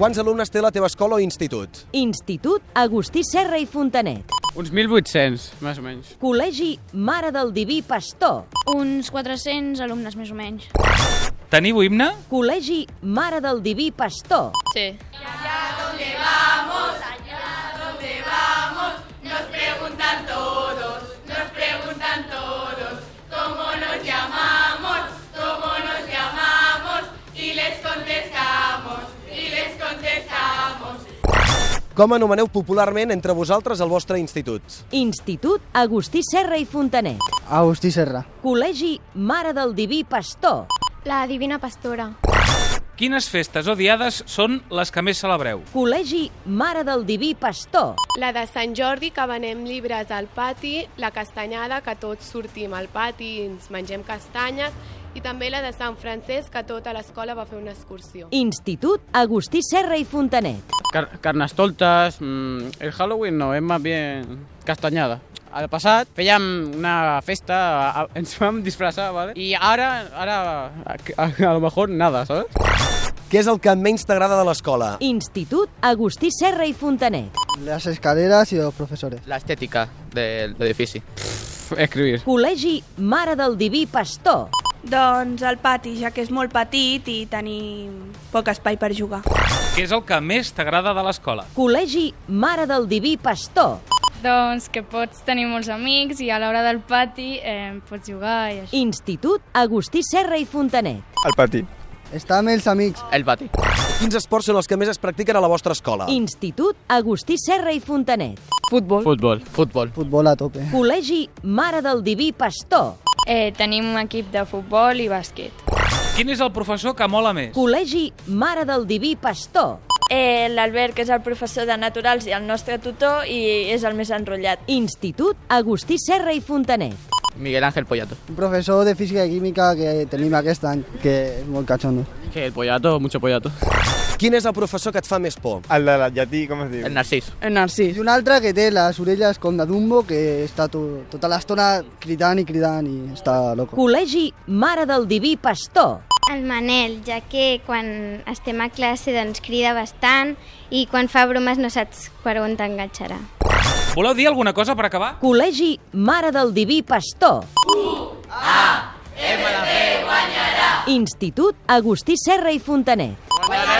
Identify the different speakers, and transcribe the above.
Speaker 1: Quants alumnes té la teva escola o institut?
Speaker 2: Institut Agustí Serra i Fontanet.
Speaker 3: Uns 1.800, més o menys.
Speaker 2: Col·legi Mare del Diví Pastor.
Speaker 4: Uns 400 alumnes, més o menys.
Speaker 3: Teniu himne?
Speaker 2: Col·legi Mare del Diví Pastor.
Speaker 4: Sí.
Speaker 1: Com anomeneu popularment entre vosaltres el vostre institut?
Speaker 2: Institut Agustí Serra i Fontanet.
Speaker 5: Agustí Serra.
Speaker 2: Col·legi Mare del Diví Pastor.
Speaker 6: La Divina Pastora.
Speaker 7: Quines festes o diades són les que més celebreu?
Speaker 2: Col·legi Mare del Diví Pastor.
Speaker 8: La de Sant Jordi, que venem llibres al pati, la castanyada, que tots sortim al pati i ens mengem castanyes, i també la de Sant Francesc, que tota l'escola va fer una excursió.
Speaker 2: Institut Agustí Serra i Fontanet.
Speaker 3: Car carnestoltes, mm, el Halloween no, és més bien castanyada. Al passat fèiem una festa, a- a- ens vam disfressar, ¿vale? i ara, ara a, a, a lo mejor nada, ¿sabes?
Speaker 1: Què és el que menys t'agrada de l'escola?
Speaker 2: Institut Agustí Serra i Fontanet.
Speaker 5: Las escaleras y los profesores.
Speaker 9: L'estètica de l'edifici.
Speaker 3: Escribir.
Speaker 2: Col·legi Mare del Diví Pastor.
Speaker 10: Doncs el pati, ja que és molt petit i tenim poc espai per jugar.
Speaker 7: Què és el que més t'agrada de l'escola?
Speaker 2: Col·legi Mare del Diví Pastor.
Speaker 4: Doncs que pots tenir molts amics i a l'hora del pati eh, pots jugar i així.
Speaker 2: Institut Agustí Serra i Fontanet.
Speaker 11: El pati.
Speaker 5: Està amb els amics.
Speaker 9: El pati.
Speaker 1: Quins esports són els que més es practiquen a la vostra escola?
Speaker 2: Institut Agustí Serra i Fontanet.
Speaker 5: Futbol.
Speaker 3: Futbol.
Speaker 9: Futbol.
Speaker 5: Futbol a tope.
Speaker 2: Col·legi Mare del Diví Pastor.
Speaker 4: Eh, tenim un equip de futbol i bàsquet.
Speaker 7: Quin és el professor que mola més?
Speaker 2: Col·legi Mare del Diví Pastor.
Speaker 10: Eh, L'Albert, que és el professor de Naturals i el nostre tutor, i és el més enrotllat.
Speaker 2: Institut Agustí Serra i Fontanet.
Speaker 9: Miguel Ángel Pollato.
Speaker 5: Un professor de física i química que tenim aquest any, que és molt catxondo.
Speaker 3: Que el pollato, mucho pollato.
Speaker 1: Quin és el professor que et fa més por?
Speaker 11: El de la llatí, com es diu?
Speaker 9: El Narcís.
Speaker 5: El Narcís. I un altre que té les orelles com de Dumbo, que està to, tota l'estona cridant i cridant i està loco.
Speaker 2: Col·legi Mare del Diví Pastor.
Speaker 6: El Manel, ja que quan estem a classe doncs crida bastant i quan fa bromes no saps per on t'enganxarà.
Speaker 7: Voleu dir alguna cosa per acabar?
Speaker 2: Col·legi Mare del Diví Pastor. U-A-M-D guanyarà. Institut Agustí Serra i Fontanet.
Speaker 3: Guanyarem!